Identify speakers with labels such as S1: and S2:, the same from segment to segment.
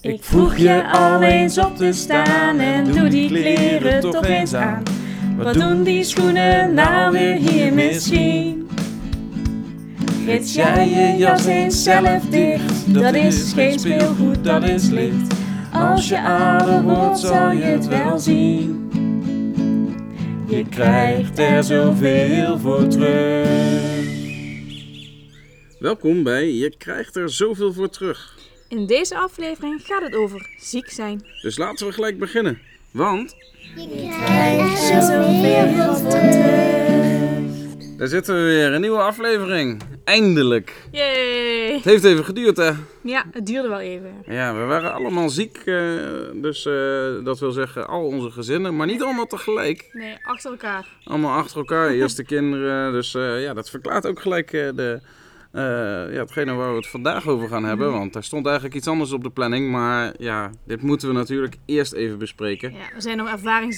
S1: Ik vroeg je al eens op te staan en doe die kleren toch eens aan. Wat doen die schoenen nou weer hier misschien? Gids jij je jas eens zelf dicht, dat is geen speelgoed, dat is licht. Als je ouder wordt zal je het wel zien. Je krijgt er zoveel voor terug.
S2: Welkom bij Je krijgt er zoveel voor terug.
S3: In deze aflevering gaat het over ziek zijn.
S2: Dus laten we gelijk beginnen. Want daar zitten we weer, een nieuwe aflevering. Eindelijk.
S3: Yay!
S2: Het heeft even geduurd, hè?
S3: Ja, het duurde wel even.
S2: Ja, we waren allemaal ziek. eh, dus eh, dat wil zeggen al onze gezinnen. Maar niet allemaal tegelijk.
S3: Nee, achter elkaar.
S2: Allemaal achter elkaar. Eerst de kinderen. Dus eh, ja, dat verklaart ook gelijk eh, de, eh, ja, hetgene waar we het vandaag over gaan hebben. Want daar stond eigenlijk iets anders op de planning. Maar ja, dit moeten we natuurlijk eerst even bespreken.
S3: Ja, we zijn nog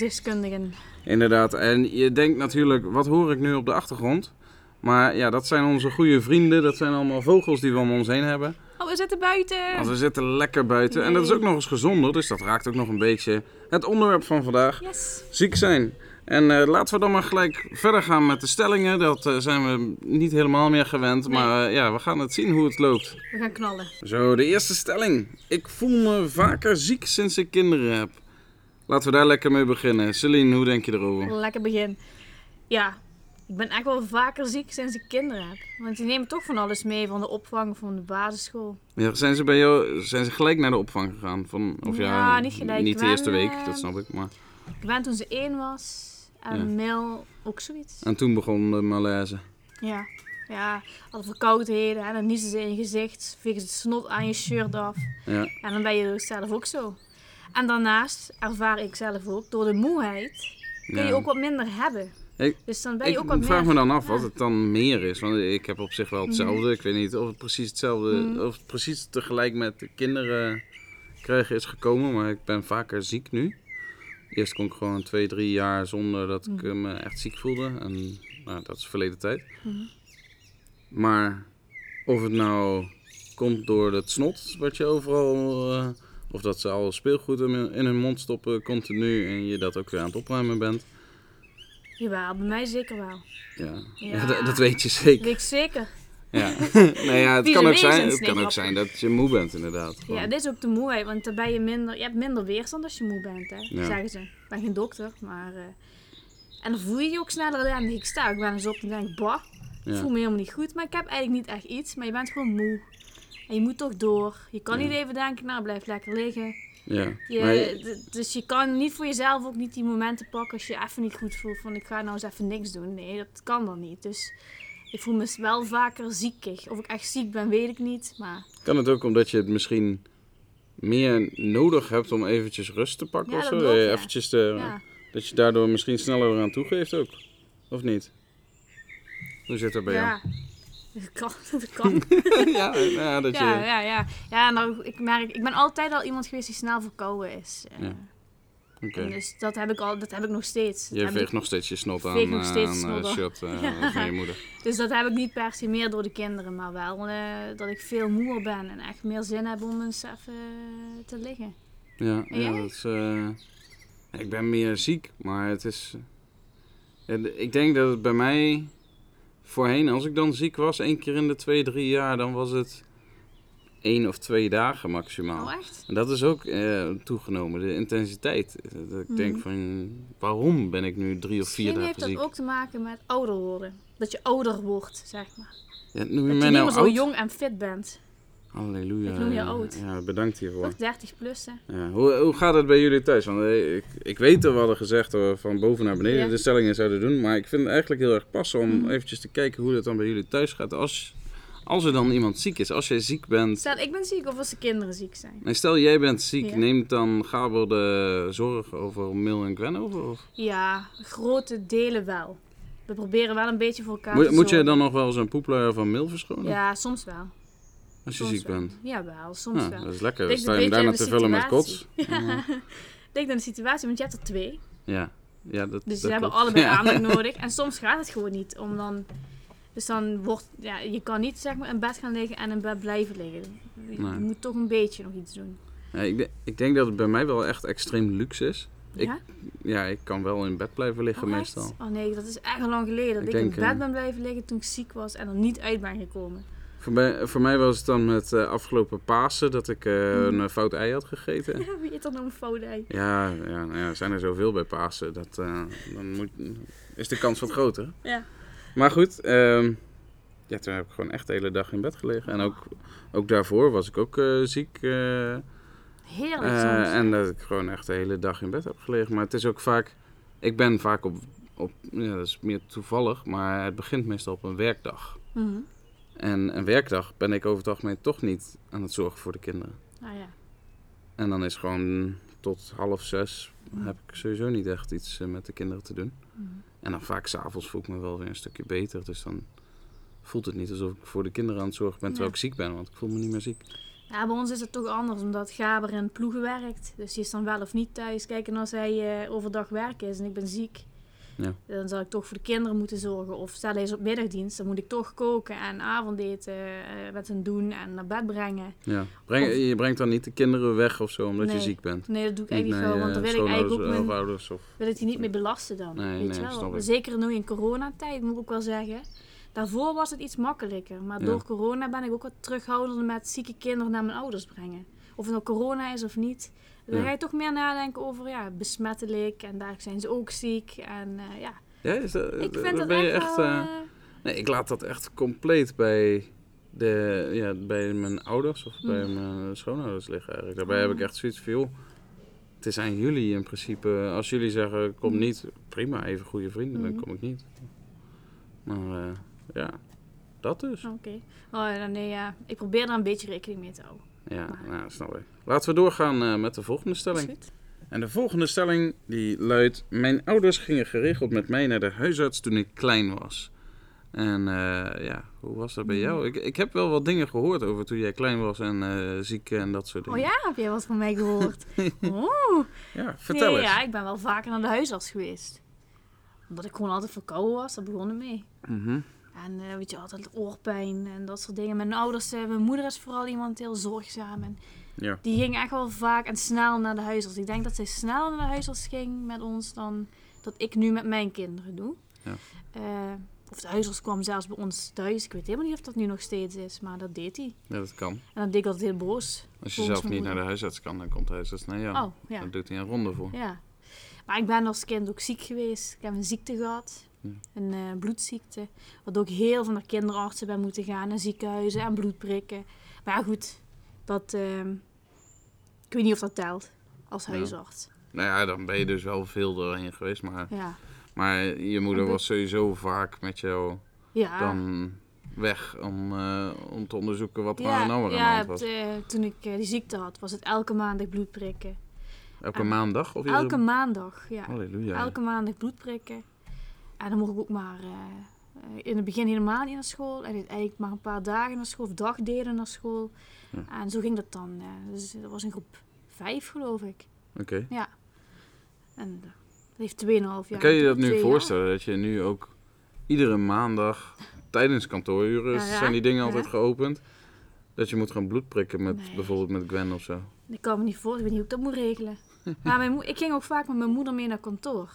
S3: ervaringsdeskundigen.
S2: Inderdaad, en je denkt natuurlijk, wat hoor ik nu op de achtergrond? Maar ja, dat zijn onze goede vrienden. Dat zijn allemaal vogels die we om ons heen hebben.
S3: Oh, we zitten buiten!
S2: Want we zitten lekker buiten. En dat is ook nog eens gezonder, dus dat raakt ook nog een beetje het onderwerp van vandaag.
S3: Yes!
S2: Ziek zijn. En eh, laten we dan maar gelijk verder gaan met de stellingen. Dat eh, zijn we niet helemaal meer gewend. Maar eh, ja, we gaan het zien hoe het loopt.
S3: We gaan knallen.
S2: Zo, de eerste stelling. Ik voel me vaker ziek sinds ik kinderen heb. Laten we daar lekker mee beginnen. Celine, hoe denk je erover?
S3: Lekker begin. Ja, ik ben echt wel vaker ziek sinds ik kinderen heb. Want die nemen toch van alles mee, van de opvang, van de basisschool.
S2: Ja, zijn ze bij jou zijn ze gelijk naar de opvang gegaan? Van, of ja,
S3: Ja, niet gelijk.
S2: Niet de
S3: Wel,
S2: eerste week,
S3: eh,
S2: dat snap ik. Maar...
S3: Ik ben toen ze één was. En
S2: Ja.
S3: Mel ook zoiets.
S2: En toen begon de malaise.
S3: Ja. Ja, alle verkoudheden en dan niezen ze in je gezicht, vegen ze snot aan je shirt af.
S2: Ja.
S3: En dan ben je dus zelf ook zo. En daarnaast ervaar ik zelf ook, door de moeheid kun je
S2: Ja.
S3: ook wat minder hebben.
S2: Ik-
S3: dus dan ben je
S2: Ik
S3: ook wat
S2: vraag
S3: meer... Mhm.
S2: me dan af wat het dan meer is. Want ik heb op zich wel hetzelfde. Ik weet niet of het precies hetzelfde, of het precies tegelijk met de kinderen krijgen is gekomen. Maar ik ben vaker ziek nu. Eerst kon ik gewoon twee, drie jaar zonder dat
S3: Mhm.
S2: ik eh, me echt ziek voelde. En nou, dat is verleden tijd.
S3: Mhm.
S2: Maar of het nou komt door dat snot wat je overal... eh, of dat ze al speelgoed in hun- in hun mond stoppen continu en je dat ook weer aan het opruimen bent.
S3: Jawel, bij mij zeker wel.
S2: Ja, ja.
S3: Ja.
S2: dat, dat weet je zeker.
S3: Dat weet ik zeker.
S2: Ja. nou ja, het
S3: Vieze
S2: kan ook zijn,
S3: wezens,
S2: het
S3: nee,
S2: kan ook
S3: grapje.
S2: zijn dat je moe bent inderdaad.
S3: Ja,
S2: gewoon.
S3: dit is ook de moeheid, want dan ben je minder... Je hebt minder weerstand als je moe bent, hè.
S2: Ja.
S3: Zeggen ze. Ik ben geen dokter, maar... eh, en dan voel je je ook sneller ellendig. Ik sta ook wel eens op en denk, bah, Ik voel
S2: Ja.
S3: me helemaal niet goed, maar ik heb eigenlijk niet echt iets. Maar je bent gewoon moe. En je moet toch door. Je kan
S2: Ja.
S3: niet even denken, nou blijf lekker liggen.
S2: Ja.
S3: Je,
S2: Maar je-
S3: d- dus je kan niet voor jezelf ook niet die momenten pakken als je even niet goed voelt. Van ik ga nou eens even niks doen. Nee, dat kan dan niet. Dus ik voel me wel vaker ziekig. Of ik echt ziek ben, weet ik niet. Maar
S2: kan het ook omdat je het misschien meer nodig hebt om eventjes rust te pakken
S3: Ja,
S2: of
S3: dat
S2: zo?
S3: ook,
S2: Eh,
S3: ja.
S2: Eventjes de-
S3: ja,
S2: dat je daardoor misschien sneller eraan toegeeft ook. Of niet? Hoe zit dat bij
S3: ja. Dat kan, dat kan.
S2: jou? ja, ja, dat je...
S3: Ja, ja, ja. Ja, nou, ik merk, ik ben altijd al iemand geweest die snel verkouden is. Eh,
S2: Ja, Oké.
S3: en Dus dat heb ik al, dat heb ik nog steeds. Dat
S2: Je
S3: heb ik-
S2: veegt nog steeds je snot aan,
S3: veeg nog
S2: eh,
S3: steeds
S2: aan eh,
S3: snot af.
S2: shirt eh,
S3: Ja.
S2: van je moeder.
S3: Dus dat heb ik niet per se meer door de kinderen, maar wel eh, dat ik veel moeer ben en echt meer zin heb om eens even eh, te liggen.
S2: Ja, ja,
S3: jij?
S2: dat is, eh, ik ben meer ziek, maar het is. eh, ja, d- ik denk dat het bij mij voorheen, als ik dan ziek was, één keer in de twee, drie jaar, dan was het één of twee dagen maximaal.
S3: Oh, echt?
S2: en dat is ook eh, toegenomen, de intensiteit. Dat ik denk van, waarom ben ik nu drie of vier
S3: Mhm. Misschien heeft
S2: dagen
S3: dat
S2: ziek?
S3: ook te maken met ouder worden. Dat je ouder wordt, zeg maar.
S2: Ja, noem je
S3: Dat je
S2: mij
S3: niet meer
S2: nou
S3: zo
S2: oud?
S3: jong en fit bent.
S2: Halleluja.
S3: Ik noem je
S2: ja.
S3: oud.
S2: Ja, bedankt hiervoor.
S3: Toch 30 plus, hè?
S2: Ja, hoe, hoe gaat het bij jullie thuis? Want eh, ik, ik weet dat we hadden gezegd dat we van boven naar beneden
S3: Ja. Mm.
S2: de stellingen zouden doen. Maar ik vind het eigenlijk heel erg passen om eventjes te kijken hoe dat dan bij jullie thuis gaat. Als, als er dan iemand ziek is, als jij ziek bent.
S3: Stel, ik ben ziek of als de kinderen ziek zijn.
S2: En stel jij bent ziek,
S3: Ja.
S2: neemt dan Gabel de zorg over Mil en Gwen over? Of?
S3: Ja, grote delen wel. We proberen wel een beetje voor elkaar
S2: Moet,
S3: te
S2: moet jij
S3: zorgen.
S2: dan nog wel eens een poepluier van Mil verschonen?
S3: Ja, soms wel.
S2: als je
S3: soms
S2: ziek
S3: wel.
S2: bent.
S3: Jawel, soms
S2: Ja,
S3: wel.
S2: dat is lekker. Dan
S3: Ligt
S2: sta
S3: een
S2: je
S3: beetje
S2: hem daarna
S3: aan de
S2: te vullen met kots.
S3: situatie. Denk aan de situatie, want je hebt er twee.
S2: Ja. Ja, dat,
S3: Dus
S2: dat
S3: ze hebben
S2: klopt.
S3: allebei
S2: Ja.
S3: aandacht nodig. En soms gaat het gewoon niet. Om dan, dus dan wordt, ja, je kan niet zeg maar in bed gaan liggen en in bed blijven liggen. Je
S2: Nee.
S3: moet toch een beetje nog iets doen.
S2: Ja, ik, de- ik denk dat het bij mij wel echt extreem luxe is. Ik-
S3: ja?
S2: Ja, ik kan wel in bed blijven liggen
S3: Oh, echt?
S2: meestal.
S3: Oh nee, dat is echt al lang geleden. Dat
S2: Ik
S3: ik,
S2: denk,
S3: in bed
S2: eh,
S3: ben blijven liggen toen ik ziek was en er niet uit ben gekomen.
S2: Voor mij, voor mij was het dan met eh, afgelopen Pasen dat ik eh, een eh, fout ei had gegeten.
S3: Ja, wie eet er nou een fout ei?
S2: Ja, ja, nou ja, er zijn er zoveel bij Pasen. Dat, eh, dan moet, is de kans wat groter.
S3: Ja.
S2: Maar goed, ehm, ja, toen heb ik gewoon echt de hele dag in bed gelegen. En ook, ook daarvoor was ik ook eh, ziek. eh,
S3: Heerlijk
S2: eh,
S3: soms.
S2: en dat ik gewoon echt de hele dag in bed heb gelegen. Maar het is ook vaak, ik ben vaak op, op ja, dat is meer toevallig, maar het begint meestal op een werkdag.
S3: Mhm.
S2: En een werkdag ben ik over het algemeen toch niet aan het zorgen voor de kinderen.
S3: Nou ja.
S2: En dan is gewoon tot half zes heb ik sowieso niet echt iets eh, met de kinderen te doen.
S3: Mhm.
S2: En dan vaak s'avonds voel ik me wel weer een stukje beter. Dus dan voelt het niet alsof ik voor de kinderen aan het zorgen ben terwijl
S3: Ja.
S2: ik ziek ben. Want ik voel me niet meer ziek.
S3: Ja, bij ons is het toch anders, omdat Gaber in ploegen werkt. Dus die is dan wel of niet thuis. Kijk, en als hij eh, overdag werk is en ik ben ziek,
S2: Ja.
S3: dan zal ik toch voor de kinderen moeten zorgen. Of stel hij is op middagdienst, dan moet ik toch koken en avondeten eh, met hen doen en naar bed brengen.
S2: Ja. Breng,
S3: Of-
S2: Je brengt dan niet de kinderen weg of zo omdat
S3: Nee.
S2: je ziek bent.
S3: Nee, dat doe ik
S2: Niet
S3: eigenlijk wel,
S2: naar
S3: want
S2: je
S3: dan wil ik eigenlijk ook
S2: schoonouders
S3: mijn,
S2: of ouders. Of...
S3: wil ik die niet meer belasten dan.
S2: Nee,
S3: weet
S2: nee,
S3: je wel.
S2: snap ik.
S3: Zeker nu in coronatijd, moet ik ook wel zeggen. Daarvoor was het iets makkelijker. Maar
S2: Ja.
S3: door corona ben ik ook wat terughoudender met zieke kinderen naar mijn ouders brengen. Of het nou corona is of niet. Dan
S2: Ja.
S3: ga je toch meer nadenken over ja, besmettelijk en daar zijn ze ook ziek. En eh, ja,
S2: Ja, is dat,
S3: ik
S2: dat-
S3: vind
S2: dat
S3: dat
S2: ben je
S3: echt,
S2: echt.
S3: wel...
S2: eh,
S3: eh,
S2: Nee, ik laat dat echt compleet bij, de, ja, bij mijn ouders of bij mijn schoonouders liggen eigenlijk. Daarbij heb ik echt zoiets van, joh, het is aan jullie in principe. Als jullie zeggen, kom niet, prima, even goede vrienden,
S3: Mhm.
S2: dan kom ik niet. Maar eh, ja, dat dus.
S3: Oké. Oh, ja, nee, ja. ik probeer daar een beetje rekening mee te houden.
S2: Ja,
S3: Maar-
S2: nou, snap ik. Laten we doorgaan eh, met de volgende
S3: Is
S2: stelling.
S3: goed.
S2: En de volgende stelling die luidt: Mijn ouders gingen geregeld met mij naar de huisarts toen ik klein was. En eh, ja, hoe was dat bij jou? Ik, ik heb wel wat dingen gehoord over toen jij klein was en eh, ziek en dat soort
S3: Oh
S2: dingen.
S3: ja, heb jij wat van mij gehoord? Oh. Oeh.
S2: Ja, vertel
S3: nee,
S2: eens.
S3: ja, ik ben wel vaker naar de huisarts geweest. Omdat ik gewoon altijd verkouden was, daar begon het mee.
S2: Mhm.
S3: En eh, weet je, altijd oorpijn en dat soort dingen. Mijn ouders, eh, mijn moeder is vooral iemand heel zorgzaam. En
S2: Ja.
S3: die ging echt wel vaak en snel naar de huisarts. Ik denk dat zij sneller naar de huisarts ging met ons dan dat ik nu met mijn kinderen doe.
S2: Ja.
S3: Eh, of de huisarts kwam zelfs bij ons thuis. Ik weet helemaal niet of dat nu nog steeds is, maar dat deed hij.
S2: Ja, dat kan.
S3: En dat deed ik altijd heel boos.
S2: Als je
S3: Volgens
S2: zelf
S3: mijn
S2: niet naar de
S3: moeder.
S2: huisarts kan, dan komt de huisarts naar jou.
S3: Oh, ja.
S2: Dan doet hij een ronde voor.
S3: Ja. Maar ik ben als kind ook ziek geweest. Ik heb een ziekte gehad.
S2: Ja.
S3: Een eh, bloedziekte. Waardoor ik heel veel naar kinderartsen ben moeten gaan. En ziekenhuizen en bloedprikken. Maar ja, goed. Dat, ehm, ik weet niet of dat telt. Als
S2: Ja.
S3: huisarts.
S2: Nou ja, dan ben je dus wel veel doorheen geweest. Maar,
S3: Ja.
S2: maar je moeder
S3: dat-
S2: was sowieso vaak met jou
S3: Ja.
S2: dan weg om, eh, om te onderzoeken wat er
S3: ja,
S2: aan de hand
S3: ja,
S2: was.
S3: het, eh, toen ik eh, die ziekte had, was het elke maandag bloedprikken.
S2: Elke
S3: En-
S2: maandag? Of Oh.
S3: Elke
S2: maandag.
S3: maandag, ja.
S2: Halleluja.
S3: Elke maandag bloed prikken. En dan mocht ik ook maar eh, eh, in het begin helemaal niet naar school. En uiteindelijk maar een paar dagen naar school, of dagdelen naar school.
S2: Ja.
S3: En zo ging dat dan. eh. dus dat was in groep vijf, geloof ik.
S2: Oké.
S3: Ja. En eh, dat heeft 2,5 jaar.
S2: kan je je dat nu
S3: Twee jaar.
S2: voorstellen? Dat je nu ook iedere maandag tijdens kantooruren
S3: Ja, ja.
S2: zijn die dingen altijd
S3: Ja.
S2: geopend. Dat je moet gaan bloed prikken met
S3: Nee.
S2: bijvoorbeeld met Gwen of zo.
S3: Ik kan me niet voor, ik weet niet hoe ik dat moet regelen. Maar mijn moe- ik ging ook vaak met mijn moeder mee naar kantoor.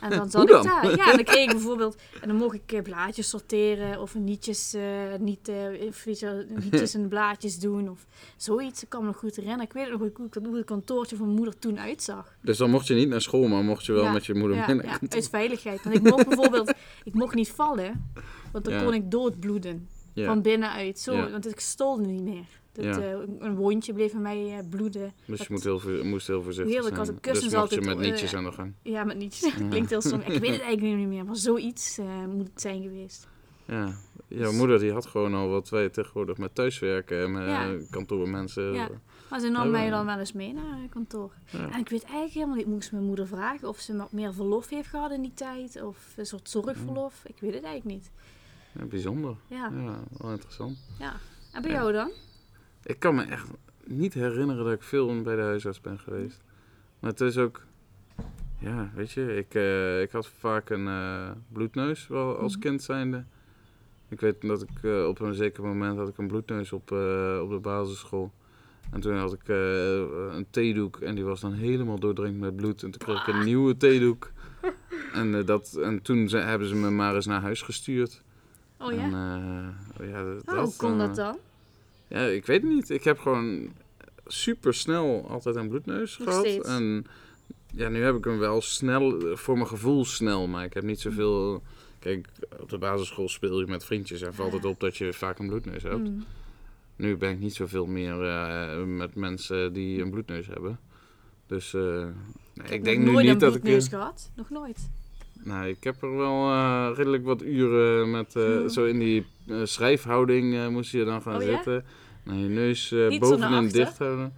S3: En dan zat
S2: dan?
S3: ik daar. Ja, en dan kreeg ik bijvoorbeeld... En dan mocht ik eh, blaadjes sorteren of nietjes, eh, niet, eh, of weet je wel, nietjes en blaadjes doen of zoiets. Ik kan me nog goed herinneren. Ik weet nog hoe ik- hoe ik- hoe het kantoortje van mijn moeder toen uitzag.
S2: Dus dan mocht je niet naar school, maar mocht je wel
S3: Ja,
S2: met je moeder
S3: Ja,
S2: mee naar
S3: ja,
S2: kantoor.
S3: uit veiligheid. Want ik mocht bijvoorbeeld... Ik mocht niet vallen, want dan
S2: Ja.
S3: kon ik doodbloeden.
S2: Ja.
S3: Van binnenuit. Zo,
S2: Ja.
S3: Want ik stolde niet meer. Dat,
S2: Ja.
S3: eh, een wondje bleef bij mij eh, bloeden.
S2: Dus je
S3: dat-
S2: moet heel, voor- moest heel voorzichtig
S3: Heerlijk,
S2: zijn.
S3: als ik kussens
S2: dus mocht je
S3: altijd,
S2: met
S3: eh,
S2: nietjes aan de gang.
S3: Ja, maar niet. Dat klinkt heel stom. Ik weet het eigenlijk niet meer, maar zoiets eh, moet het zijn geweest.
S2: Ja. Jouw
S3: Dus-
S2: moeder die had gewoon al wat wij tegenwoordig met thuiswerken en met
S3: Ja.
S2: kantoormensen.
S3: Ja.
S2: Ja.
S3: Maar ze nam
S2: Nou,
S3: mij
S2: eh,
S3: dan wel eens mee naar eh, kantoor.
S2: Ja.
S3: En ik weet eigenlijk helemaal niet, moest mijn moeder vragen of ze wat meer verlof heeft gehad in die tijd. Of een soort zorgverlof. Ik weet het eigenlijk niet.
S2: bijzonder.
S3: Ja.
S2: Ja, wel interessant.
S3: En bij
S2: Ja.
S3: jou dan?
S2: Ik kan me echt niet herinneren dat ik veel bij de huisarts ben geweest. Maar het is ook... Ja, weet je, ik, eh, ik had vaak een eh, bloedneus wel als
S3: Mhm.
S2: kind zijnde. Ik weet dat ik eh, op een zeker moment had ik een bloedneus op, eh, op de basisschool. En toen had ik eh, een theedoek en die was dan helemaal doordrenkt met bloed. En toen kreeg ik
S3: Ah.
S2: een nieuwe theedoek. En, eh, dat, en toen ze, hebben ze me maar eens naar huis gestuurd.
S3: Oh ja?
S2: En, eh, ja dat,
S3: Oh, hoe kon
S2: eh,
S3: dat dan?
S2: ja, ik weet het niet. Ik heb gewoon super snel altijd een bloedneus
S3: Nog
S2: gehad.
S3: steeds.
S2: En ja, nu heb ik hem wel snel, eh, voor mijn gevoel snel, maar ik heb niet zoveel. Kijk, op de basisschool speel je met vriendjes en valt het op dat je vaak een bloedneus hebt.
S3: Mm.
S2: Nu ben ik niet zoveel meer eh, met mensen die een bloedneus hebben. Dus eh, nee, ik,
S3: Nog
S2: denk nu
S3: nooit
S2: niet
S3: een
S2: dat ik. eh,
S3: bloedneus gehad. Nog nooit.
S2: Nou, ik heb er wel eh, redelijk wat uren met, eh,
S3: Ja.
S2: zo in die eh, schrijfhouding eh, moest je dan gaan
S3: Hmm. Oh ja?
S2: zitten. Nou, je neus eh,
S3: Niet zo naar
S2: bovenin
S3: achter?
S2: dicht houden.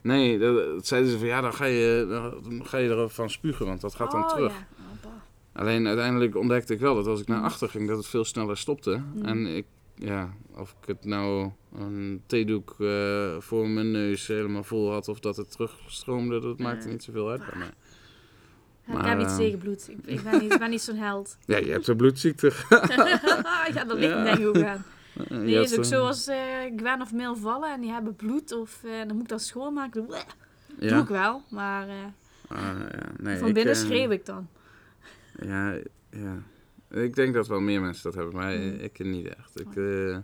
S2: Nee, dat, dat zeiden ze van ja, dan ga je, dan ga je ervan spugen, want dat gaat dan
S3: oh,
S2: terug.
S3: Ja. Oh, bah.
S2: Alleen uiteindelijk ontdekte ik wel dat als ik naar
S3: Mm.
S2: achter ging, dat het veel sneller stopte.
S3: Mm.
S2: En ik, ja, of ik het nou een theedoek eh, voor mijn neus helemaal vol had of dat het terugstroomde, dat maakte
S3: Ja.
S2: niet zoveel uit
S3: Ah.
S2: bij mij.
S3: Ja,
S2: Maar,
S3: ik heb
S2: eh,
S3: iets tegen bloed. Ik, ik ben, niet, ik ben niet zo'n held.
S2: Ja, je hebt een bloedziekte.
S3: ja, dat ligt
S2: Ja.
S3: me denk ik ook aan.
S2: Je
S3: Nee,
S2: hebt,
S3: is ook
S2: eh,
S3: zoals eh Gwen of Mil vallen en die hebben bloed of eh, dan moet ik dat schoonmaken. Bleh,
S2: ja.
S3: Doe ik wel, maar eh,
S2: Ah, ja. Nee,
S3: van binnen
S2: eh,
S3: schreeuw ik dan.
S2: Ja, ja. Ik denk dat wel meer mensen dat hebben, maar
S3: Mm. Oh.
S2: ik niet echt. Ik, eh,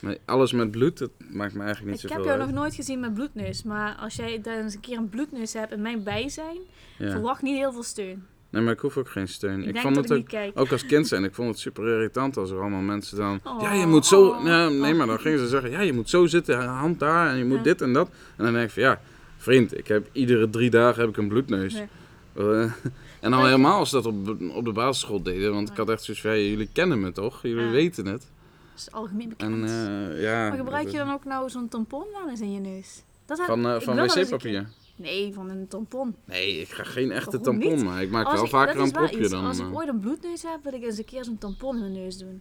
S2: maar alles met bloed, dat maakt me eigenlijk niet
S3: Ik heb
S2: zoveel
S3: jou
S2: uit.
S3: nog nooit gezien met bloedneus, maar als jij dan eens een keer een bloedneus hebt en mijn bijzijn,
S2: ja.
S3: verwacht niet heel veel steun.
S2: Nee, maar ik hoef ook geen steun.
S3: Ik,
S2: Ik,
S3: denk
S2: vond
S3: dat
S2: het
S3: ik niet
S2: ook,
S3: kijk.
S2: ook als kind zijn, ik vond het super irritant als er allemaal mensen dan...
S3: Oh,
S2: ja, je moet zo...
S3: oh,
S2: Ja, nee,
S3: oh.
S2: maar dan gingen ze zeggen, ja, je moet zo zitten, hand daar en je moet
S3: Ja.
S2: dit en dat. En dan denk ik van, ja, vriend, ik heb iedere drie dagen heb ik een bloedneus.
S3: Ja.
S2: Eh, en
S3: Maar
S2: al
S3: ik-
S2: helemaal als ze dat op, op de basisschool deden, want ik
S3: Ja.
S2: had echt zoiets van, ja, jullie kennen me toch? Jullie
S3: Ja.
S2: weten het.
S3: Dat is algemeen bekend.
S2: En eh, ja.
S3: maar gebruik
S2: dat-
S3: je dan ook nou zo'n tampon wel eens in je neus? Dat heb-
S2: Van, eh,
S3: ik
S2: van
S3: wil wel eens een keer-
S2: wc-papier?
S3: Nee, van een tampon.
S2: Nee, ik ga geen echte
S3: Waarom
S2: tampon
S3: niet?
S2: maken. Ik maak
S3: Als
S2: wel
S3: ik-
S2: vaker
S3: dat
S2: een
S3: is wel
S2: propje
S3: iets.
S2: dan.
S3: Als
S2: eh.
S3: ik ooit een bloedneus heb, wil ik eens een keer zo'n tampon in mijn neus doen.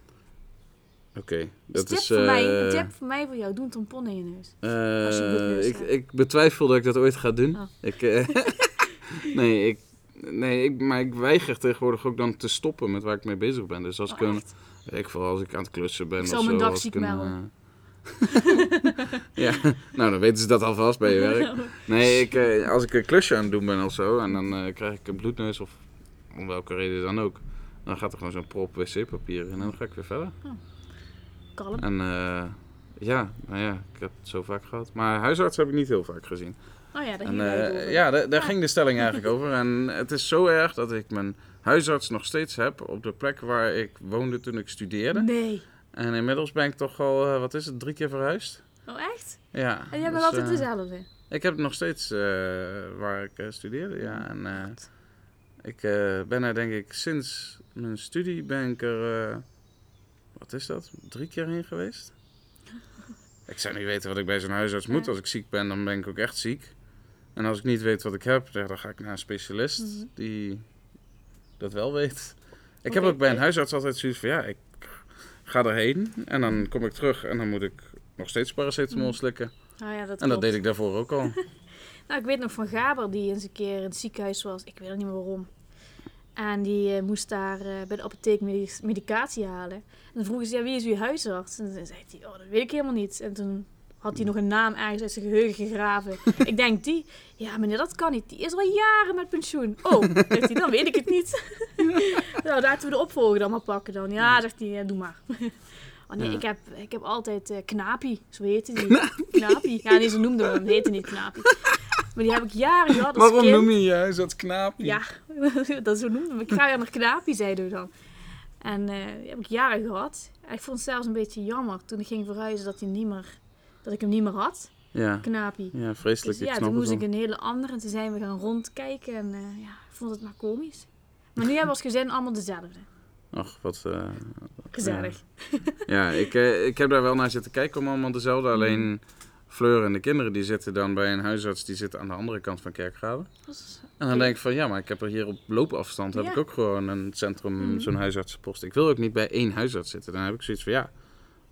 S2: Oké,
S3: Dus
S2: dat
S3: tip,
S2: is...
S3: voor mij,
S2: eh,
S3: een tip voor mij voor jou, doe een tampon in je neus.
S2: eh,
S3: als je bloedneus
S2: ik,
S3: hebt.
S2: ik betwijfel dat ik dat ooit ga doen.
S3: Oh.
S2: Ik, eh, nee, ik, nee ik, maar ik weiger tegenwoordig ook dan te stoppen met waar ik mee bezig ben. Dus als
S3: Oh,
S2: ik, een,
S3: echt?
S2: weet ik, vooral als ik aan het klussen ben
S3: Ik
S2: of
S3: zal
S2: zo,
S3: mijn dag
S2: als ik
S3: ziek
S2: een,
S3: melden.
S2: eh, ja, nou dan weten ze dat alvast bij je werk. Nee, ik, eh, als ik een klusje aan het doen ben of zo en dan eh, krijg ik een bloedneus of om welke reden dan ook, dan gaat er gewoon zo'n prop wc-papier in en dan ga ik weer verder.
S3: Kalm.
S2: En eh, ja, nou ja, ik heb het zo vaak gehad. Maar huisarts heb ik niet heel vaak gezien.
S3: Oh ja, daar
S2: En,
S3: ging jij
S2: eh,
S3: over.
S2: ja, daar, daar
S3: Ja.
S2: ging de stelling eigenlijk over. En het is zo erg dat ik mijn huisarts nog steeds heb op de plek waar ik woonde toen ik studeerde.
S3: Nee.
S2: En inmiddels ben ik toch al, eh, wat is het, drie keer verhuisd?
S3: Oh echt?
S2: Ja.
S3: En jij
S2: dus,
S3: bent altijd
S2: eh,
S3: dezelfde.
S2: Ik heb het nog steeds eh, waar ik eh, studeerde, ja. En eh,
S3: Wat?
S2: ik eh, ben er denk ik sinds mijn studie ben ik er, eh, wat is dat, drie keer heen geweest. Ik zou niet weten wat ik bij zo'n huisarts moet.
S3: Ja.
S2: Als ik ziek ben, dan ben ik ook echt ziek. En als ik niet weet wat ik heb, ja, dan ga ik naar een specialist
S3: Mhm.
S2: die dat wel weet. Ik
S3: Oké.
S2: heb ook bij een huisarts altijd zoiets van, ja, ik ga erheen en dan kom ik terug en dan moet ik nog steeds paracetamol
S3: Mhm.
S2: slikken.
S3: Nou ja, dat
S2: En dat
S3: klopt.
S2: deed ik daarvoor ook al.
S3: Nou, ik weet nog van Gaber die eens een keer in het ziekenhuis was. Ik weet ook niet meer waarom. En die eh, moest daar eh, bij de apotheek medic- medicatie halen. En dan vroegen ze, ja, wie is uw huisarts? En dan zei hij, oh, dat weet ik helemaal niet. En toen had hij nog een naam ergens uit zijn geheugen gegraven. ik denk, die? Ja, meneer, dat kan niet. Die is al jaren met pensioen. Oh, zegt hij, dan weet ik het niet. nou, laten we de opvolger dan maar pakken dan. Ja, zegt hij, "ja, doe maar. Oh nee,
S2: Hmm. Ja.
S3: ik, heb, ik heb altijd eh Knapie, zo heette die. Knapie? Ja, nee, ze noemden hem, heette niet Knapie. Maar die heb ik jaren gehad als
S2: Waarom
S3: kind.
S2: noem je je huisarts knaapje?
S3: Ja, dat zo noemde hem. Ik ga weer naar Knapie, zeiden we dan. En eh, die heb ik jaren gehad. Ik vond het zelfs een beetje jammer toen ik ging verhuizen dat, hij niet meer, dat ik hem niet meer had.
S2: Ja,
S3: Knapie.
S2: ja vreselijk.
S3: Dus
S2: ik
S3: ja,
S2: snap
S3: toen moest
S2: het
S3: ik
S2: wel.
S3: een hele andere. En toen zijn we gaan rondkijken en eh, ja, ik vond het maar komisch. Maar nu hebben we als gezin allemaal dezelfde.
S2: Ach, wat... eh,
S3: Gezellig.
S2: Ja, ik, eh, ik heb daar wel naar zitten kijken om allemaal
S3: Mhm.
S2: dezelfde. Alleen Fleur en de kinderen die zitten dan bij een huisarts... die zitten aan de andere kant van Kerkrade.
S3: Dat is-
S2: En dan denk ik van, ja, maar ik heb er hier op loopafstand... heb
S3: Ja.
S2: ik ook gewoon een centrum,
S3: Mhm.
S2: zo'n huisartsenpost. Ik wil ook niet bij één huisarts zitten. Dan heb ik zoiets van, ja...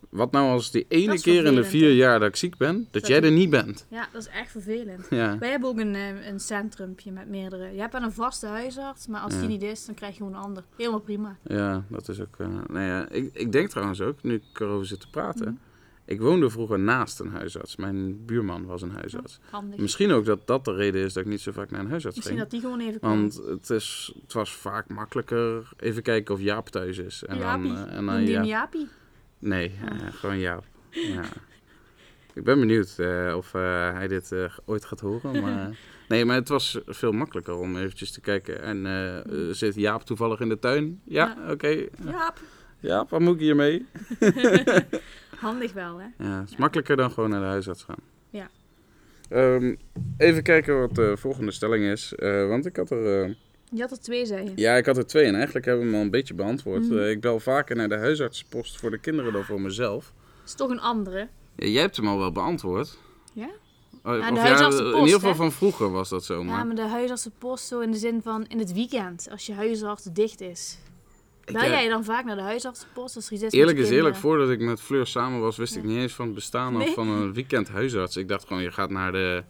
S2: Wat nou als die ene
S3: is
S2: keer in de
S3: vervelend,
S2: vier
S3: hè?
S2: jaar dat ik ziek ben... dat,
S3: Dat
S2: jij
S3: je-
S2: er niet bent?
S3: Ja, dat is echt vervelend.
S2: Ja.
S3: Wij hebben ook een, eh, een centrumpje met meerdere. Je hebt wel een vaste huisarts, maar als
S2: Ja.
S3: die niet is, dan krijg je gewoon een ander. Helemaal prima. Mhm.
S2: Ja, dat is ook. eh, nou ja, ik, ik denk trouwens ook, nu ik erover zit te praten. Ik woonde vroeger naast een huisarts. Mijn buurman was een huisarts.
S3: Handig.
S2: Misschien ook dat dat de reden is dat ik niet zo vaak naar een huisarts
S3: Misschien
S2: ging.
S3: dat die gewoon even
S2: Want
S3: komt.
S2: het, is, het was vaak makkelijker even kijken of Jaap thuis is. En dan,
S3: Jaapie.
S2: eh, en
S3: Noemde
S2: dan
S3: je hem
S2: Jaap.
S3: Jaapie?
S2: Nee, eh, gewoon Jaap. Ja. Ik ben benieuwd eh, of eh, hij dit eh, ooit gaat horen. Maar... eh, Nee, maar het was veel makkelijker om eventjes te kijken. En eh, eh, zit Jaap toevallig in de tuin? Ja, oké.
S3: Jaap.
S2: Jaap, wat moet ik hiermee?
S3: Handig wel, hè?
S2: Ja, het is makkelijker dan gewoon naar de huisarts gaan.
S3: Ja.
S2: Ehm, even kijken wat de volgende stelling is. Eh, want ik had er... eh,
S3: Je had er twee, zei je.
S2: Ja, ik had er twee en eigenlijk hebben we hem al een beetje beantwoord.
S3: Mm.
S2: Eh, ik bel vaker naar de huisartsenpost voor de kinderen dan voor mezelf.
S3: is toch een andere.
S2: jij hebt hem al wel beantwoord.
S3: Ja?
S2: Oh,
S3: Ja, de
S2: of
S3: huisartsenpost,
S2: in ieder geval
S3: hè?
S2: van vroeger was dat zo. Maar
S3: Ja, maar de huisartsenpost zo in de zin van in het weekend, als je huisarts dicht is.
S2: Ik,
S3: Bel
S2: eh,
S3: jij dan vaak naar de huisartsenpost als er iets is met
S2: eerlijk
S3: je
S2: is eerlijk,
S3: kinderen?
S2: voordat ik met Fleur samen was, wist ik
S3: Ja.
S2: niet eens van het bestaan
S3: Nee?
S2: of van een weekend huisarts. Ik dacht gewoon, je gaat naar de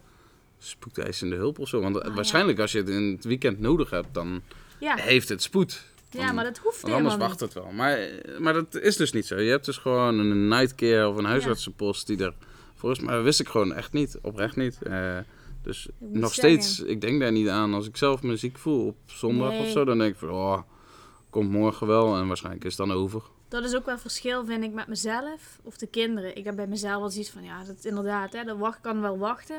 S2: spoedeisende hulp of zo. Want eh,
S3: Ah, ja. Ah.
S2: waarschijnlijk als je het in het weekend nodig hebt, dan
S3: Ja,
S2: heeft het spoed.
S3: ja, maar dat hoeft
S2: Want anders
S3: helemaal
S2: wacht
S3: niet.
S2: het wel. Maar, eh, maar dat is dus niet zo. Je hebt dus gewoon een nightcare of een huisartsenpost die er volgens mij wist ik gewoon echt niet. Oprecht niet. Eh, dus
S3: moet
S2: nog
S3: zeggen.
S2: steeds, ik denk daar niet aan. Als ik zelf me ziek voel op zondag of
S3: Nee.
S2: zo, dan denk ik van, oh, komt morgen wel en waarschijnlijk is het dan over.
S3: Dat is ook wel verschil, vind ik, met mezelf of de kinderen. Ik heb bij mezelf wel zoiets van, ja, dat inderdaad, hè, dat wacht, kan wel wachten.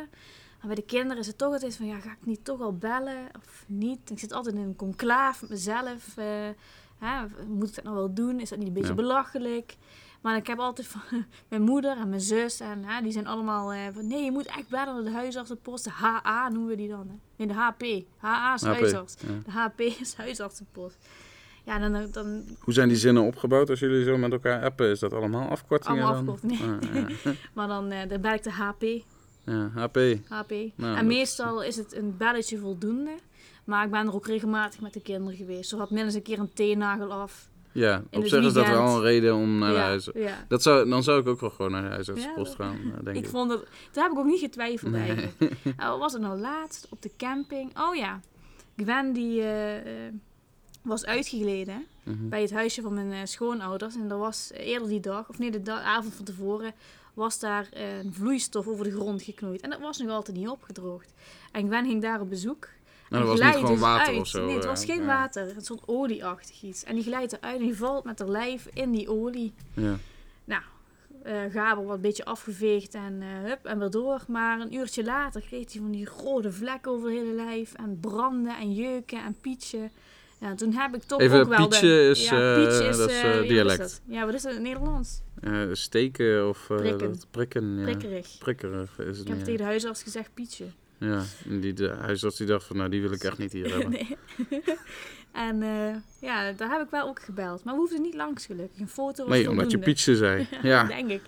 S3: Maar bij de kinderen is het toch altijd van, ja, ga ik niet toch al bellen of niet? Ik zit altijd in een conclaaf met mezelf. eh, hè, moet ik dat nou wel doen? Is dat niet een beetje
S2: Ja. belachelijk?
S3: belachelijk? Maar ik heb altijd van mijn moeder en mijn zus en hè, die zijn allemaal eh, van, nee, je moet echt bellen naar de huisartsenpost. De HA noemen we die dan, hè? Nee, de HP. HA is
S2: HP,
S3: huisarts.
S2: ja.
S3: De HP is huisartsenpost. Ja, dan, dan
S2: Hoe zijn die zinnen opgebouwd als jullie zo met elkaar appen? Is dat allemaal afkortingen
S3: Allemaal
S2: dan?
S3: afkortingen.
S2: Ah, ja.
S3: Maar dan, eh dan ben ik de HP.
S2: ja, HP.
S3: HP.
S2: Nou,
S3: en
S2: dat is-
S3: meestal is het een belletje voldoende. Maar ik ben er ook regelmatig met de kinderen geweest. Zo had minstens een keer een teennagel af.
S2: Ja,
S3: In
S2: op
S3: het
S2: zich is dat
S3: weekend.
S2: wel een reden om naar de
S3: ja,
S2: huis...
S3: ja.
S2: Nou, Dat zou, dan zou ik ook wel gewoon naar de huisartsenpost
S3: Ja.
S2: gaan, eh, denk
S3: Ik
S2: ik.
S3: vond het, daar heb ik ook niet getwijfeld
S2: Nee.
S3: eigenlijk. Eh, wat was het nou laatst op de camping? Oh ja, Gwen die eh, eh, was uitgegleden.
S2: Mhm.
S3: bij het huisje van mijn eh, schoonouders. En er was eh, eerder die dag, of nee, de da- avond van tevoren, was daar eh, een vloeistof over de grond geknoeid. En dat was nog altijd niet opgedroogd. En Gwen ging daar op bezoek.
S2: Nou,
S3: en
S2: dat was niet
S3: glijdt
S2: gewoon
S3: dus
S2: water
S3: uit.
S2: of zo.
S3: Nee, het was
S2: eh,
S3: geen
S2: ja.
S3: water. Het stond olieachtig iets. En die glijdt eruit en die valt met haar lijf in die olie.
S2: Ja.
S3: Nou, eh Gabel wat een beetje afgeveegd en eh, hup, en weer door. Maar een uurtje later kreeg hij van die rode vlek over het hele lijf. En branden en jeuken en pietje. Ja, toen heb ik toch
S2: Even
S3: ook wel
S2: pietje
S3: de...
S2: is, eh, dat is,
S3: eh,
S2: eh,
S3: ja, wat
S2: dialect.
S3: dat? Ja, wat is dat in het Nederlands?
S2: Eh, steken of eh,
S3: Prikken.
S2: dat prikken. Ja.
S3: Prikkerig.
S2: Prikkerig is het
S3: Ik heb
S2: meer.
S3: tegen de huisarts gezegd pietje.
S2: Ja, en die de huisarts die dacht van, nou die wil ik echt niet hier hebben.
S3: Nee. en eh, ja, daar heb ik wel ook gebeld. Maar we hoefden niet langs gelukkig. Een eh, foto was
S2: Nee, omdat je
S3: voldoende,
S2: pietje zei. Ja,
S3: Denk ik.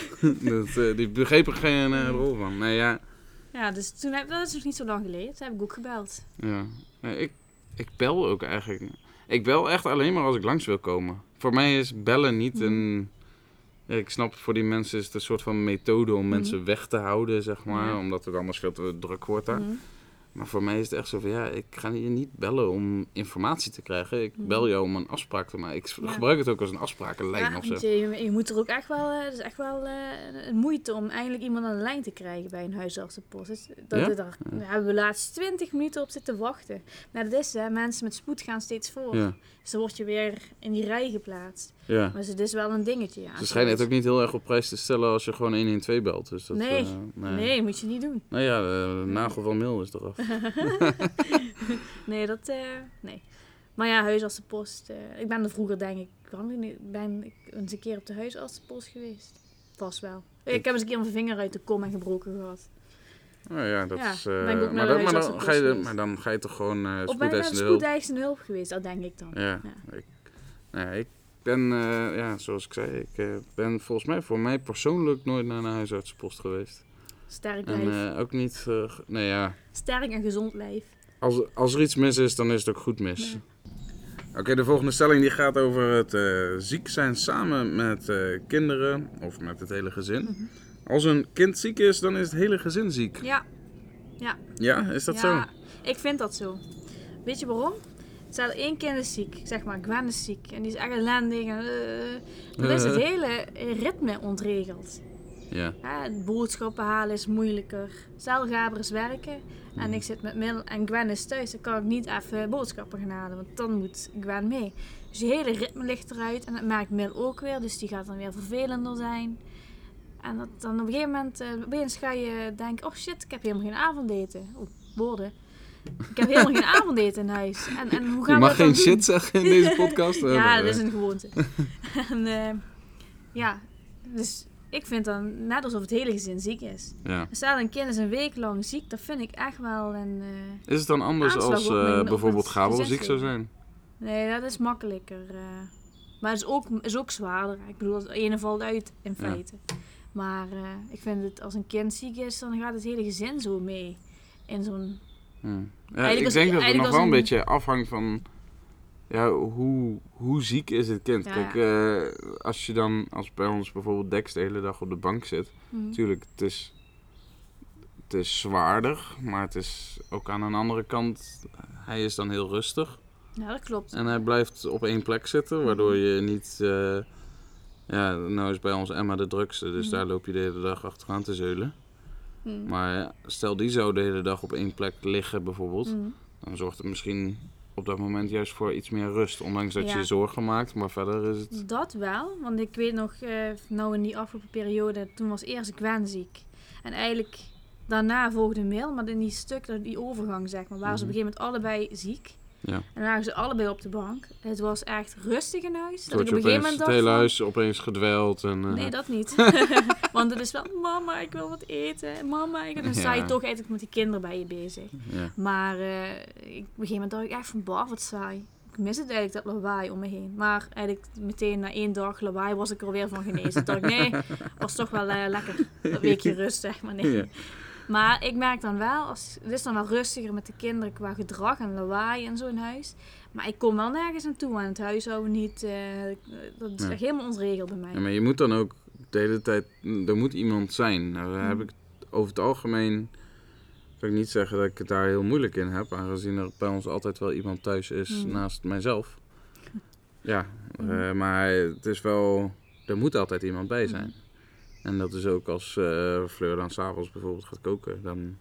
S2: dat, eh, die begreep er geen eh,
S3: Nee.
S2: rol van. Nee, ja.
S3: Ja, dus toen heb, dat is nog niet zo lang geleden. Toen heb ik ook gebeld.
S2: ja. Nee, ik, ik bel ook eigenlijk. Ik bel echt alleen maar als ik langs wil komen. Voor mij is bellen niet
S3: Mhm.
S2: een... Ja, ik snap, voor die mensen is het een soort van methode om mensen weg te houden, zeg maar.
S3: Mhm. Ja.
S2: Omdat het anders veel te druk wordt daar.
S3: Mhm.
S2: Maar voor mij is het echt zo van, ja, ik ga je niet bellen om informatie te krijgen. Ik bel jou om een afspraak te maken. Ik s-
S3: Mhm. Ja.
S2: gebruik het ook als een afsprakenlijn
S3: Ja,
S2: of zo.
S3: want je, je moet er ook echt wel, eh, het is echt wel eh, een moeite om eindelijk iemand aan de lijn te krijgen bij een huisartsenpost. Dus dat,
S2: Ja?
S3: dat- daar hebben we laatst 20 minuten op zitten wachten. Maar dat is, hè, mensen met spoed gaan steeds voor.
S2: Ja,
S3: Dus dan word je weer in die rij geplaatst.
S2: ja.
S3: Maar dus het is wel een dingetje, ja.
S2: Ze schijnen het ook niet heel erg op prijs te stellen als je gewoon 112 belt. Dus dat,
S3: Nee.
S2: eh, nee.
S3: Nee, moet je niet doen.
S2: Nou ja, de nagel van mail is eraf.
S3: Nee, dat, eh, nee. Maar ja, huisartsenpost. eh, ik ben er vroeger, denk ik, kwam ik niet- ben ik eens een keer op de huisartsenpost geweest. Vast wel.
S2: Ik-
S3: Ik heb eens een keer mijn vinger uit de kom en gebroken gehad.
S2: Nou ja, dat
S3: Ja,
S2: is... eh,
S3: ben ik ook naar
S2: maar,
S3: de
S2: dan, maar, dan
S3: huisartsenpost
S2: ga je, de-
S3: geweest.
S2: maar dan ga je toch gewoon eh
S3: Of ben ik naar de
S2: spoedeisende hulp.
S3: spoedeisende hulp geweest? Dat denk ik dan.
S2: Ja, ik, nou ja, ik ben, eh, ja, zoals ik zei, ik eh, ben volgens mij voor mij persoonlijk nooit naar een huisartsenpost geweest.
S3: Sterk
S2: En
S3: lijf.
S2: eh, ook niet, eh, g- nou ja,
S3: Sterk en gezond lijf.
S2: Als, als er iets mis is, dan is het ook goed mis.
S3: Ja.
S2: Oké, de volgende stelling die gaat over het eh, ziek zijn samen met eh, kinderen of met het hele gezin.
S3: Mhm.
S2: Als een kind ziek is, dan is het hele gezin ziek.
S3: Ja,
S2: Ja, is
S3: ja,
S2: dat zo?
S3: ik vind dat zo. Weet je waarom? Stel, één kind is ziek, ik zeg maar, Gwen eh, Dus is ziek en die is echt ellendig en eh, dan is het hele ritme ontregeld.
S2: Ja.
S3: Ja, boodschappen halen is moeilijker. Zelgaber is werken.
S2: Hmm.
S3: En ik zit met Mil en Gwen is thuis. Dan kan ik niet even boodschappen gaan halen, want dan moet Gwen mee. Dus je hele ritme ligt eruit. En dat maakt Mil ook weer, dus die gaat dan weer vervelender zijn. En dat, dan op een gegeven moment, eh, opeens ga je denken, oh shit, ik heb helemaal geen avondeten. Oeh, woorden. Ik heb helemaal geen avondeten in huis. En, en hoe gaan
S2: Je
S3: we dat dan
S2: mag geen
S3: doen?
S2: shit zeggen in deze podcast.
S3: Ja, dat is een gewoonte. en eh, ja, dus ik vind dan net alsof het hele gezin ziek is.
S2: Ja.
S3: Staat een kind is een week lang ziek, dat vind ik echt wel een... eh,
S2: Is het dan anders
S3: Aanslag
S2: als
S3: op
S2: eh,
S3: mijn- op
S2: bijvoorbeeld
S3: het
S2: Gabel
S3: gezicht
S2: ziek zou zijn?
S3: nee, dat is makkelijker. eh. maar het is ook, is ook zwaarder. Ik bedoel, het ene valt uit in
S2: Ja.
S3: feite. Maar eh, ik vind het, als een kind ziek is, dan gaat het hele gezin zo mee. In zo'n...
S2: Ja. Ja,
S3: Eigenlijk
S2: ik
S3: als-
S2: denk dat het
S3: eigenlijk
S2: nog
S3: als
S2: wel een
S3: een-
S2: beetje afhangt van ja, hoe, hoe ziek is het kind.
S3: Ja,
S2: Kijk, eh, als je dan, als bij ons bijvoorbeeld Dex de hele dag op de bank zit,
S3: Hm.
S2: natuurlijk, het is, het is zwaarder, maar het is ook aan een andere kant, hij is dan heel rustig.
S3: Ja, dat klopt.
S2: En hij blijft op één plek zitten,
S3: Mhm.
S2: waardoor je niet... eh, ja, nou is bij ons Emma de drukste, dus
S3: Mhm.
S2: daar loop je de hele dag achteraan te zeulen.
S3: Hm.
S2: Maar ja, stel die zou de hele dag op één plek liggen bijvoorbeeld,
S3: Hm.
S2: dan zorgt het misschien op dat moment juist voor iets meer rust. Ondanks dat je
S3: Ja.
S2: je zorgen maakt, maar verder is het...
S3: Dat wel, want ik weet nog, eh, nou in die afgelopen periode, toen was eerst Gwen ziek. En eigenlijk daarna volgde Mil, maar in die stuk, dat- die overgang zeg maar, waren ze op een
S2: Mhm.
S3: gegeven moment allebei ziek.
S2: Ja.
S3: En dan lagen ze allebei op de bank. Het was echt rustig in huis.
S2: Wordt je opeens het hele
S3: van-
S2: huis opeens gedweld en... eh,
S3: Nee, dat niet. Want het is wel, mama, ik wil wat eten. Mama, ik... Dan sta je
S2: Ja.
S3: toch eigenlijk met die kinderen bij je bezig.
S2: ja.
S3: Maar eh, ik, op een gegeven moment dacht ik echt van, bah, wat saai. Ik mis het eigenlijk, dat lawaai om me heen. Maar eigenlijk meteen na één dag lawaai was ik er weer van genezen. Toen dacht ik, nee, was toch wel eh, lekker. Een weekje rust, zeg maar. Nee.
S2: Ja.
S3: Maar ik merk dan wel, als, het is dan wel rustiger met de kinderen qua gedrag en lawaai en zo in huis. Maar ik kom wel nergens aan toe, aan het huishouden niet. eh, dat is
S2: Ja.
S3: echt helemaal ons regel bij mij.
S2: Ja, maar je moet dan ook de hele tijd, mm, er moet iemand zijn. Nou, daar heb
S3: Mm.
S2: ik over het algemeen, kan ik niet zeggen dat ik het daar heel moeilijk in heb, aangezien er bij ons altijd wel iemand thuis is
S3: Mm.
S2: naast mijzelf. Ja,
S3: Mm.
S2: eh, maar het is wel, er moet altijd iemand bij zijn.
S3: Mm.
S2: En dat is ook als eh, Fleur dan s'avonds bijvoorbeeld gaat koken, dan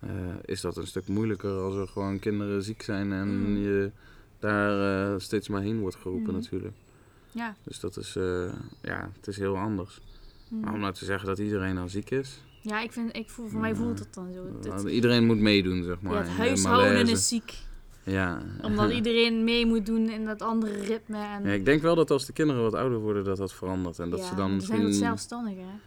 S2: eh, is dat een stuk moeilijker als er gewoon kinderen ziek zijn en
S3: Mm.
S2: je daar eh, steeds maar heen wordt geroepen
S3: Mm.
S2: natuurlijk.
S3: Ja.
S2: Dus dat is, eh, ja, het is heel anders.
S3: Hm.
S2: Maar om nou te zeggen dat iedereen dan ziek is,
S3: Ja, ik vind, ik voel, voor mij voelt het dan zo. Het,
S2: want iedereen moet meedoen, zeg maar.
S3: ja, het
S2: in de
S3: huishouden
S2: malaise.
S3: is ziek.
S2: Ja.
S3: Omdat iedereen mee moet doen in dat andere ritme. En,
S2: Ja, ik denk wel dat als de kinderen wat ouder worden, dat dat verandert. En dat
S3: Ja,
S2: ze dan
S3: want
S2: misschien...
S3: zijn wat zelfstandig, hè?
S2: Ja,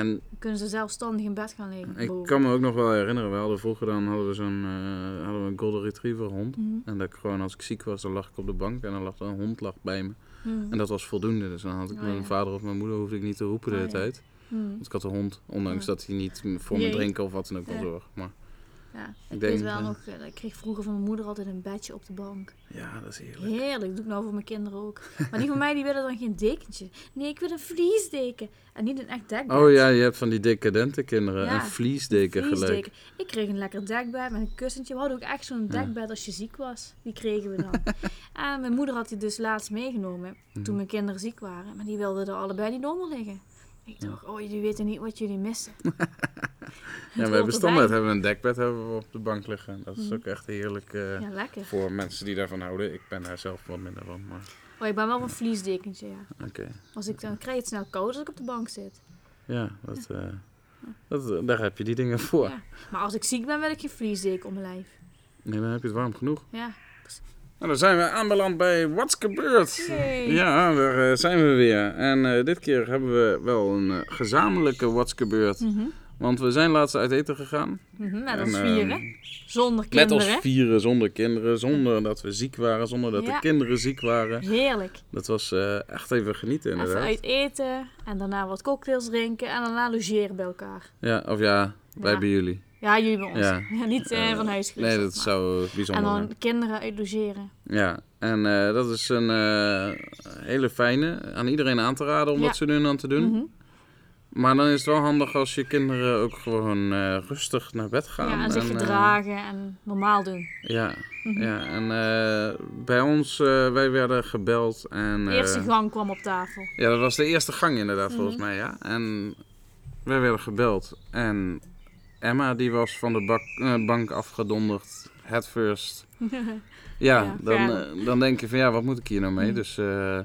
S2: en
S3: Dan kunnen ze zelfstandig in bed gaan liggen.
S2: ik
S3: boven.
S2: kan me ook nog wel herinneren, we hadden vroeger dan hadden we zo'n eh, hadden we een golden retriever hond.
S3: Mhm.
S2: En dat ik gewoon, als ik ziek was, dan lag ik op de bank en dan lag er een hond lag bij me.
S3: Mhm.
S2: En dat was voldoende. Dus dan had ik
S3: Oh,
S2: mijn
S3: ja.
S2: vader of mijn moeder, hoefde ik niet te roepen de
S3: Oh,
S2: hele
S3: ja.
S2: tijd.
S3: Mhm.
S2: Want ik had een hond, ondanks
S3: Ja.
S2: dat hij niet voor me
S3: Jee.
S2: drinken of wat dan ook wel
S3: Ja.
S2: zorg. Maar
S3: Ja, ik,
S2: denk,
S3: weet wel
S2: eh,
S3: nog, eh, ik kreeg vroeger van mijn moeder altijd een bedje op de bank.
S2: ja, dat is heerlijk.
S3: Heerlijk, dat doe ik nou voor mijn kinderen ook. Maar die van mij die willen dan geen dekentje. Nee, ik wil een vliesdeken. En niet een echt dekbed.
S2: Oh ja, je hebt van die decadente kinderen.
S3: Ja,
S2: Een vliesdeken gelijk.
S3: Vliesdeken. Ik kreeg een lekker dekbed met een kussentje. We hadden ook echt zo'n
S2: Ja.
S3: dekbed als je ziek was. Die kregen we dan. en mijn moeder had die dus laatst meegenomen
S2: Mm.
S3: toen
S2: Hm.
S3: mijn kinderen ziek waren. Maar die wilden er allebei niet onder liggen. Ik dacht, oh, jullie weten niet wat jullie missen.
S2: Ja, we hebben standaard hebben we een dekbed hebben we op de bank liggen. Dat is ook echt heerlijk eh,
S3: Mhm. Ja, lekker.
S2: voor mensen die daarvan houden. Ik ben daar zelf wat minder van, maar
S3: Oh, ik ben wel een vliesdekentje, ja.
S2: oké.
S3: Als ik dan krijg je het snel koud als ik op de bank zit.
S2: Ja, dat, eh, dat, eh, daar heb je die dingen voor.
S3: Ja. Maar als ik ziek ben, wil ik geen vliesdeken op mijn lijf.
S2: Nee, dan heb je het warm genoeg.
S3: Ja.
S2: Nou, dan zijn we aanbeland bij Wat's gebeurd.
S3: Yay.
S2: Ja, daar eh, zijn we weer. En eh, dit keer hebben we wel een eh, gezamenlijke Wat's gebeurd.
S3: Mhm.
S2: Want we zijn laatst uit eten gegaan.
S3: Mhm, Met ons
S2: En,
S3: vieren.
S2: ehm,
S3: Zonder
S2: Met
S3: kinderen.
S2: ons vieren, zonder kinderen, zonder dat we ziek waren, zonder dat de
S3: Hm. Ja.
S2: kinderen ziek waren.
S3: Heerlijk.
S2: Dat was eh, echt even genieten inderdaad.
S3: Even uit eten. En daarna wat cocktails drinken. En daarna logeren bij elkaar.
S2: Ja, of ja, wij
S3: Ja.
S2: bij jullie.
S3: Ja, jullie bij ons.
S2: Ja.
S3: Ja, niet eh,
S2: Eh,
S3: van huis geweest.
S2: Nee, dat
S3: zeg maar.
S2: zou
S3: En
S2: bijzonder zijn.
S3: dan kinderen uit logeren.
S2: Ja, en eh, dat is een eh, hele fijne. Aan iedereen aan te raden om
S3: Ja.
S2: dat ze nu en dan te doen.
S3: Mhm.
S2: Maar dan is het wel handig als je kinderen ook gewoon eh, rustig naar bed gaan.
S3: Ja, en Mhm. zich
S2: eh,
S3: gedragen en normaal doen.
S2: ja, ja, en eh, bij ons, eh, wij werden gebeld. En,
S3: De
S2: eh,
S3: eerste gang kwam op tafel. Mhm.
S2: Ja, dat was de eerste gang inderdaad, volgens mij, ja. En Wij werden gebeld en Emma die was van de bak, eh, bank afgedonderd, head first. Ja,
S3: Ja,
S2: dan,
S3: ja.
S2: eh, dan denk je van ja, wat moet ik hier nou mee?
S3: Mm.
S2: Dus eh,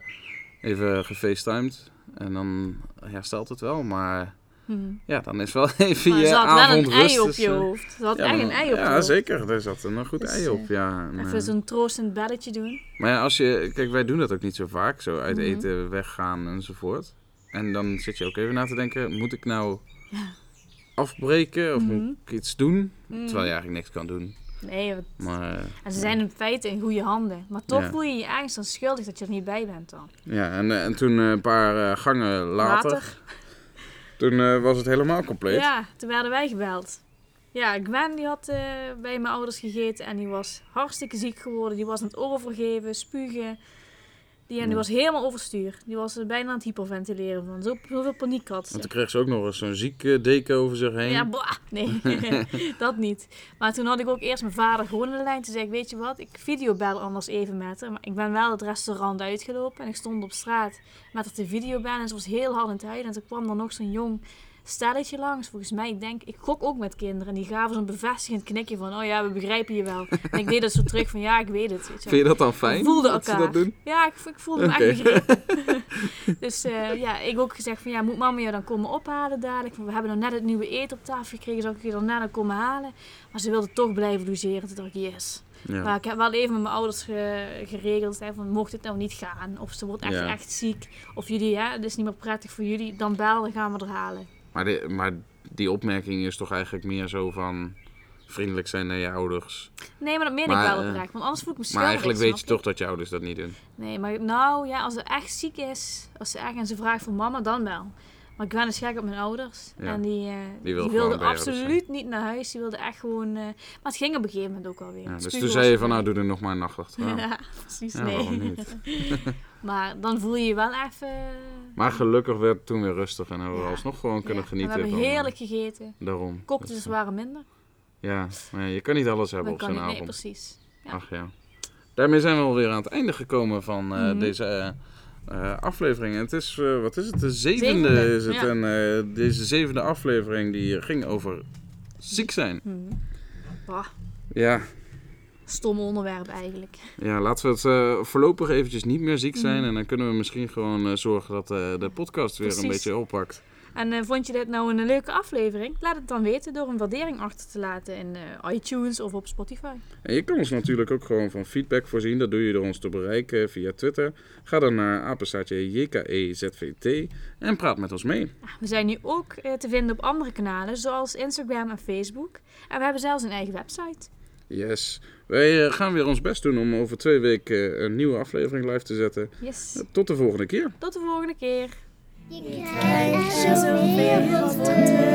S2: even gefacetimed en dan herstelt het wel, maar
S3: Hm.
S2: ja, dan is wel even
S3: Maar
S2: je
S3: ze had wel een
S2: avondrust.
S3: ei op
S2: dus,
S3: je
S2: eh,
S3: hoofd. Ze had
S2: ja,
S3: echt
S2: dan-
S3: een ei op je
S2: Ja,
S3: hoofd.
S2: zeker. Er zat een goed
S3: Dus,
S2: ei
S3: eh,
S2: op, ja. En, eh,
S3: Even zo'n troostend belletje doen.
S2: Maar ja, als je, kijk, wij doen dat ook niet zo vaak, zo uit
S3: Mhm.
S2: eten, weggaan enzovoort. En dan zit je ook even na te denken, moet ik nou
S3: Ja.
S2: afbreken of
S3: Mhm.
S2: moet ik iets doen?
S3: Hm.
S2: Terwijl je eigenlijk niks kan doen.
S3: Nee, want-
S2: Maar eh,
S3: en ze zijn in feite in goede handen. Maar toch
S2: Ja.
S3: voel je je ergens dan schuldig dat je er niet bij bent dan.
S2: ja, en, eh, en toen eh, een paar eh, gangen later, toen eh, was het helemaal compleet.
S3: Ja, toen werden wij gebeld. Ja, Gwen die had eh, bij mijn ouders gegeten en die was hartstikke ziek geworden. Die was aan het overgeven, spugen. Die, en die
S2: Ja.
S3: was helemaal overstuur. Die was eh, bijna aan het hyperventileren van zo- zoveel paniek had ze.
S2: Want toen kreeg ze ook nog eens zo'n zieke deken over zich heen.
S3: Ja, bah, nee, dat niet. Maar toen had ik ook eerst mijn vader gewoon aan de lijn. Toen zei ik, weet je wat, ik videobel anders even met haar. Maar ik ben wel het restaurant uitgelopen en ik stond op straat met haar te videobellen. En ze was heel hard in het huilen. En toen kwam er nog zo'n jong stelletje langs. Volgens mij, ik denk, ik gok ook met kinderen. En die gaven zo'n bevestigend knikje van, oh ja, we begrijpen je wel. En ik deed dat zo terug van, ja, ik weet het. Weet je wel.
S2: Vind je dat dan fijn?
S3: We voelden
S2: dat
S3: elkaar.
S2: ze dat doen?
S3: Ja, ik, ik voelde me
S2: Oké.
S3: echt begrepen. dus eh, ja, ik ook gezegd van ja, moet mama je dan komen ophalen dadelijk? Want we hebben dan net het nieuwe eten op tafel gekregen, zou ik je dan net komen halen? Maar ze wilde toch blijven logeren. Toen dacht ik, yes. Maar
S2: Ja.
S3: ik heb wel even met mijn ouders ge- geregeld, hè, van mocht het nou niet gaan, of ze wordt echt,
S2: Ja.
S3: echt ziek, of jullie, hè, het is niet meer prettig voor jullie, dan bel, dan gaan we er halen.
S2: Maar, die, maar die opmerking is toch eigenlijk meer zo van vriendelijk zijn naar je ouders.
S3: Nee, maar dat meen
S2: Maar,
S3: ik wel
S2: eh,
S3: oprecht, want anders voel ik me
S2: Maar
S3: schuldig.
S2: eigenlijk weet je
S3: snap
S2: toch dat je ouders dat niet doen.
S3: Nee, maar nou ja, als ze echt ziek is, als ze echt en ze vraagt voor mama, dan wel. Maar Gwen is gek op mijn ouders.
S2: Ja.
S3: En die, eh, die,
S2: wil gewoon
S3: wilde
S2: bij dus je ouders
S3: absoluut niet naar huis. Die wilde echt gewoon... eh, maar het ging op een gegeven moment ook alweer.
S2: Ja,
S3: Het
S2: dus
S3: spugen
S2: toen
S3: was
S2: zei je
S3: er
S2: van nou
S3: weer.
S2: doe er nog maar een nachtwacht aan.
S3: Ja, precies.
S2: Ja, waarom
S3: nee.
S2: niet?
S3: maar dan voel je je wel even...
S2: Maar gelukkig werd het toen weer rustig en hebben we
S3: Ja.
S2: alsnog gewoon
S3: Ja,
S2: kunnen
S3: en
S2: genieten.
S3: We hebben
S2: van- eh,
S3: heerlijk gegeten.
S2: Daarom. Dus, eh,
S3: Cocktails waren minder.
S2: Ja, maar ja, je kan niet alles hebben
S3: Dat
S2: op
S3: kan
S2: zo'n
S3: niet.
S2: avond.
S3: Nee, precies. ja.
S2: Ach ja. Daarmee zijn we alweer aan het einde gekomen van eh,
S3: Mhm.
S2: deze eh, eh, aflevering. En het is, eh, wat is het, de zevende,
S3: Zevende,
S2: is het.
S3: ja.
S2: En eh, deze zevende aflevering die ging over ziek zijn.
S3: Hm. Bah,
S2: Ja,
S3: stom onderwerp eigenlijk.
S2: ja laten we het eh, voorlopig eventjes niet meer ziek zijn.
S3: Mhm.
S2: En dan kunnen we misschien gewoon eh, zorgen dat eh, de podcast weer een
S3: Precies.
S2: beetje oppakt.
S3: En eh, vond je dit nou een leuke aflevering? Laat het dan weten door een waardering achter te laten in eh, iTunes of op Spotify.
S2: En je kan ons natuurlijk ook gewoon van feedback voorzien. Dat doe je door ons te bereiken via Twitter. Ga dan naar apenstaartje E JKEZVT en praat met ons mee.
S3: We zijn nu ook eh, te vinden op andere kanalen, zoals Instagram en Facebook. En we hebben zelfs een eigen website.
S2: Yes. Wij eh, gaan weer ons best doen om over twee weken eh, een nieuwe aflevering live te zetten.
S3: Yes.
S2: Tot de volgende keer.
S3: Tot de volgende keer.
S4: krijgt zoveel van terug.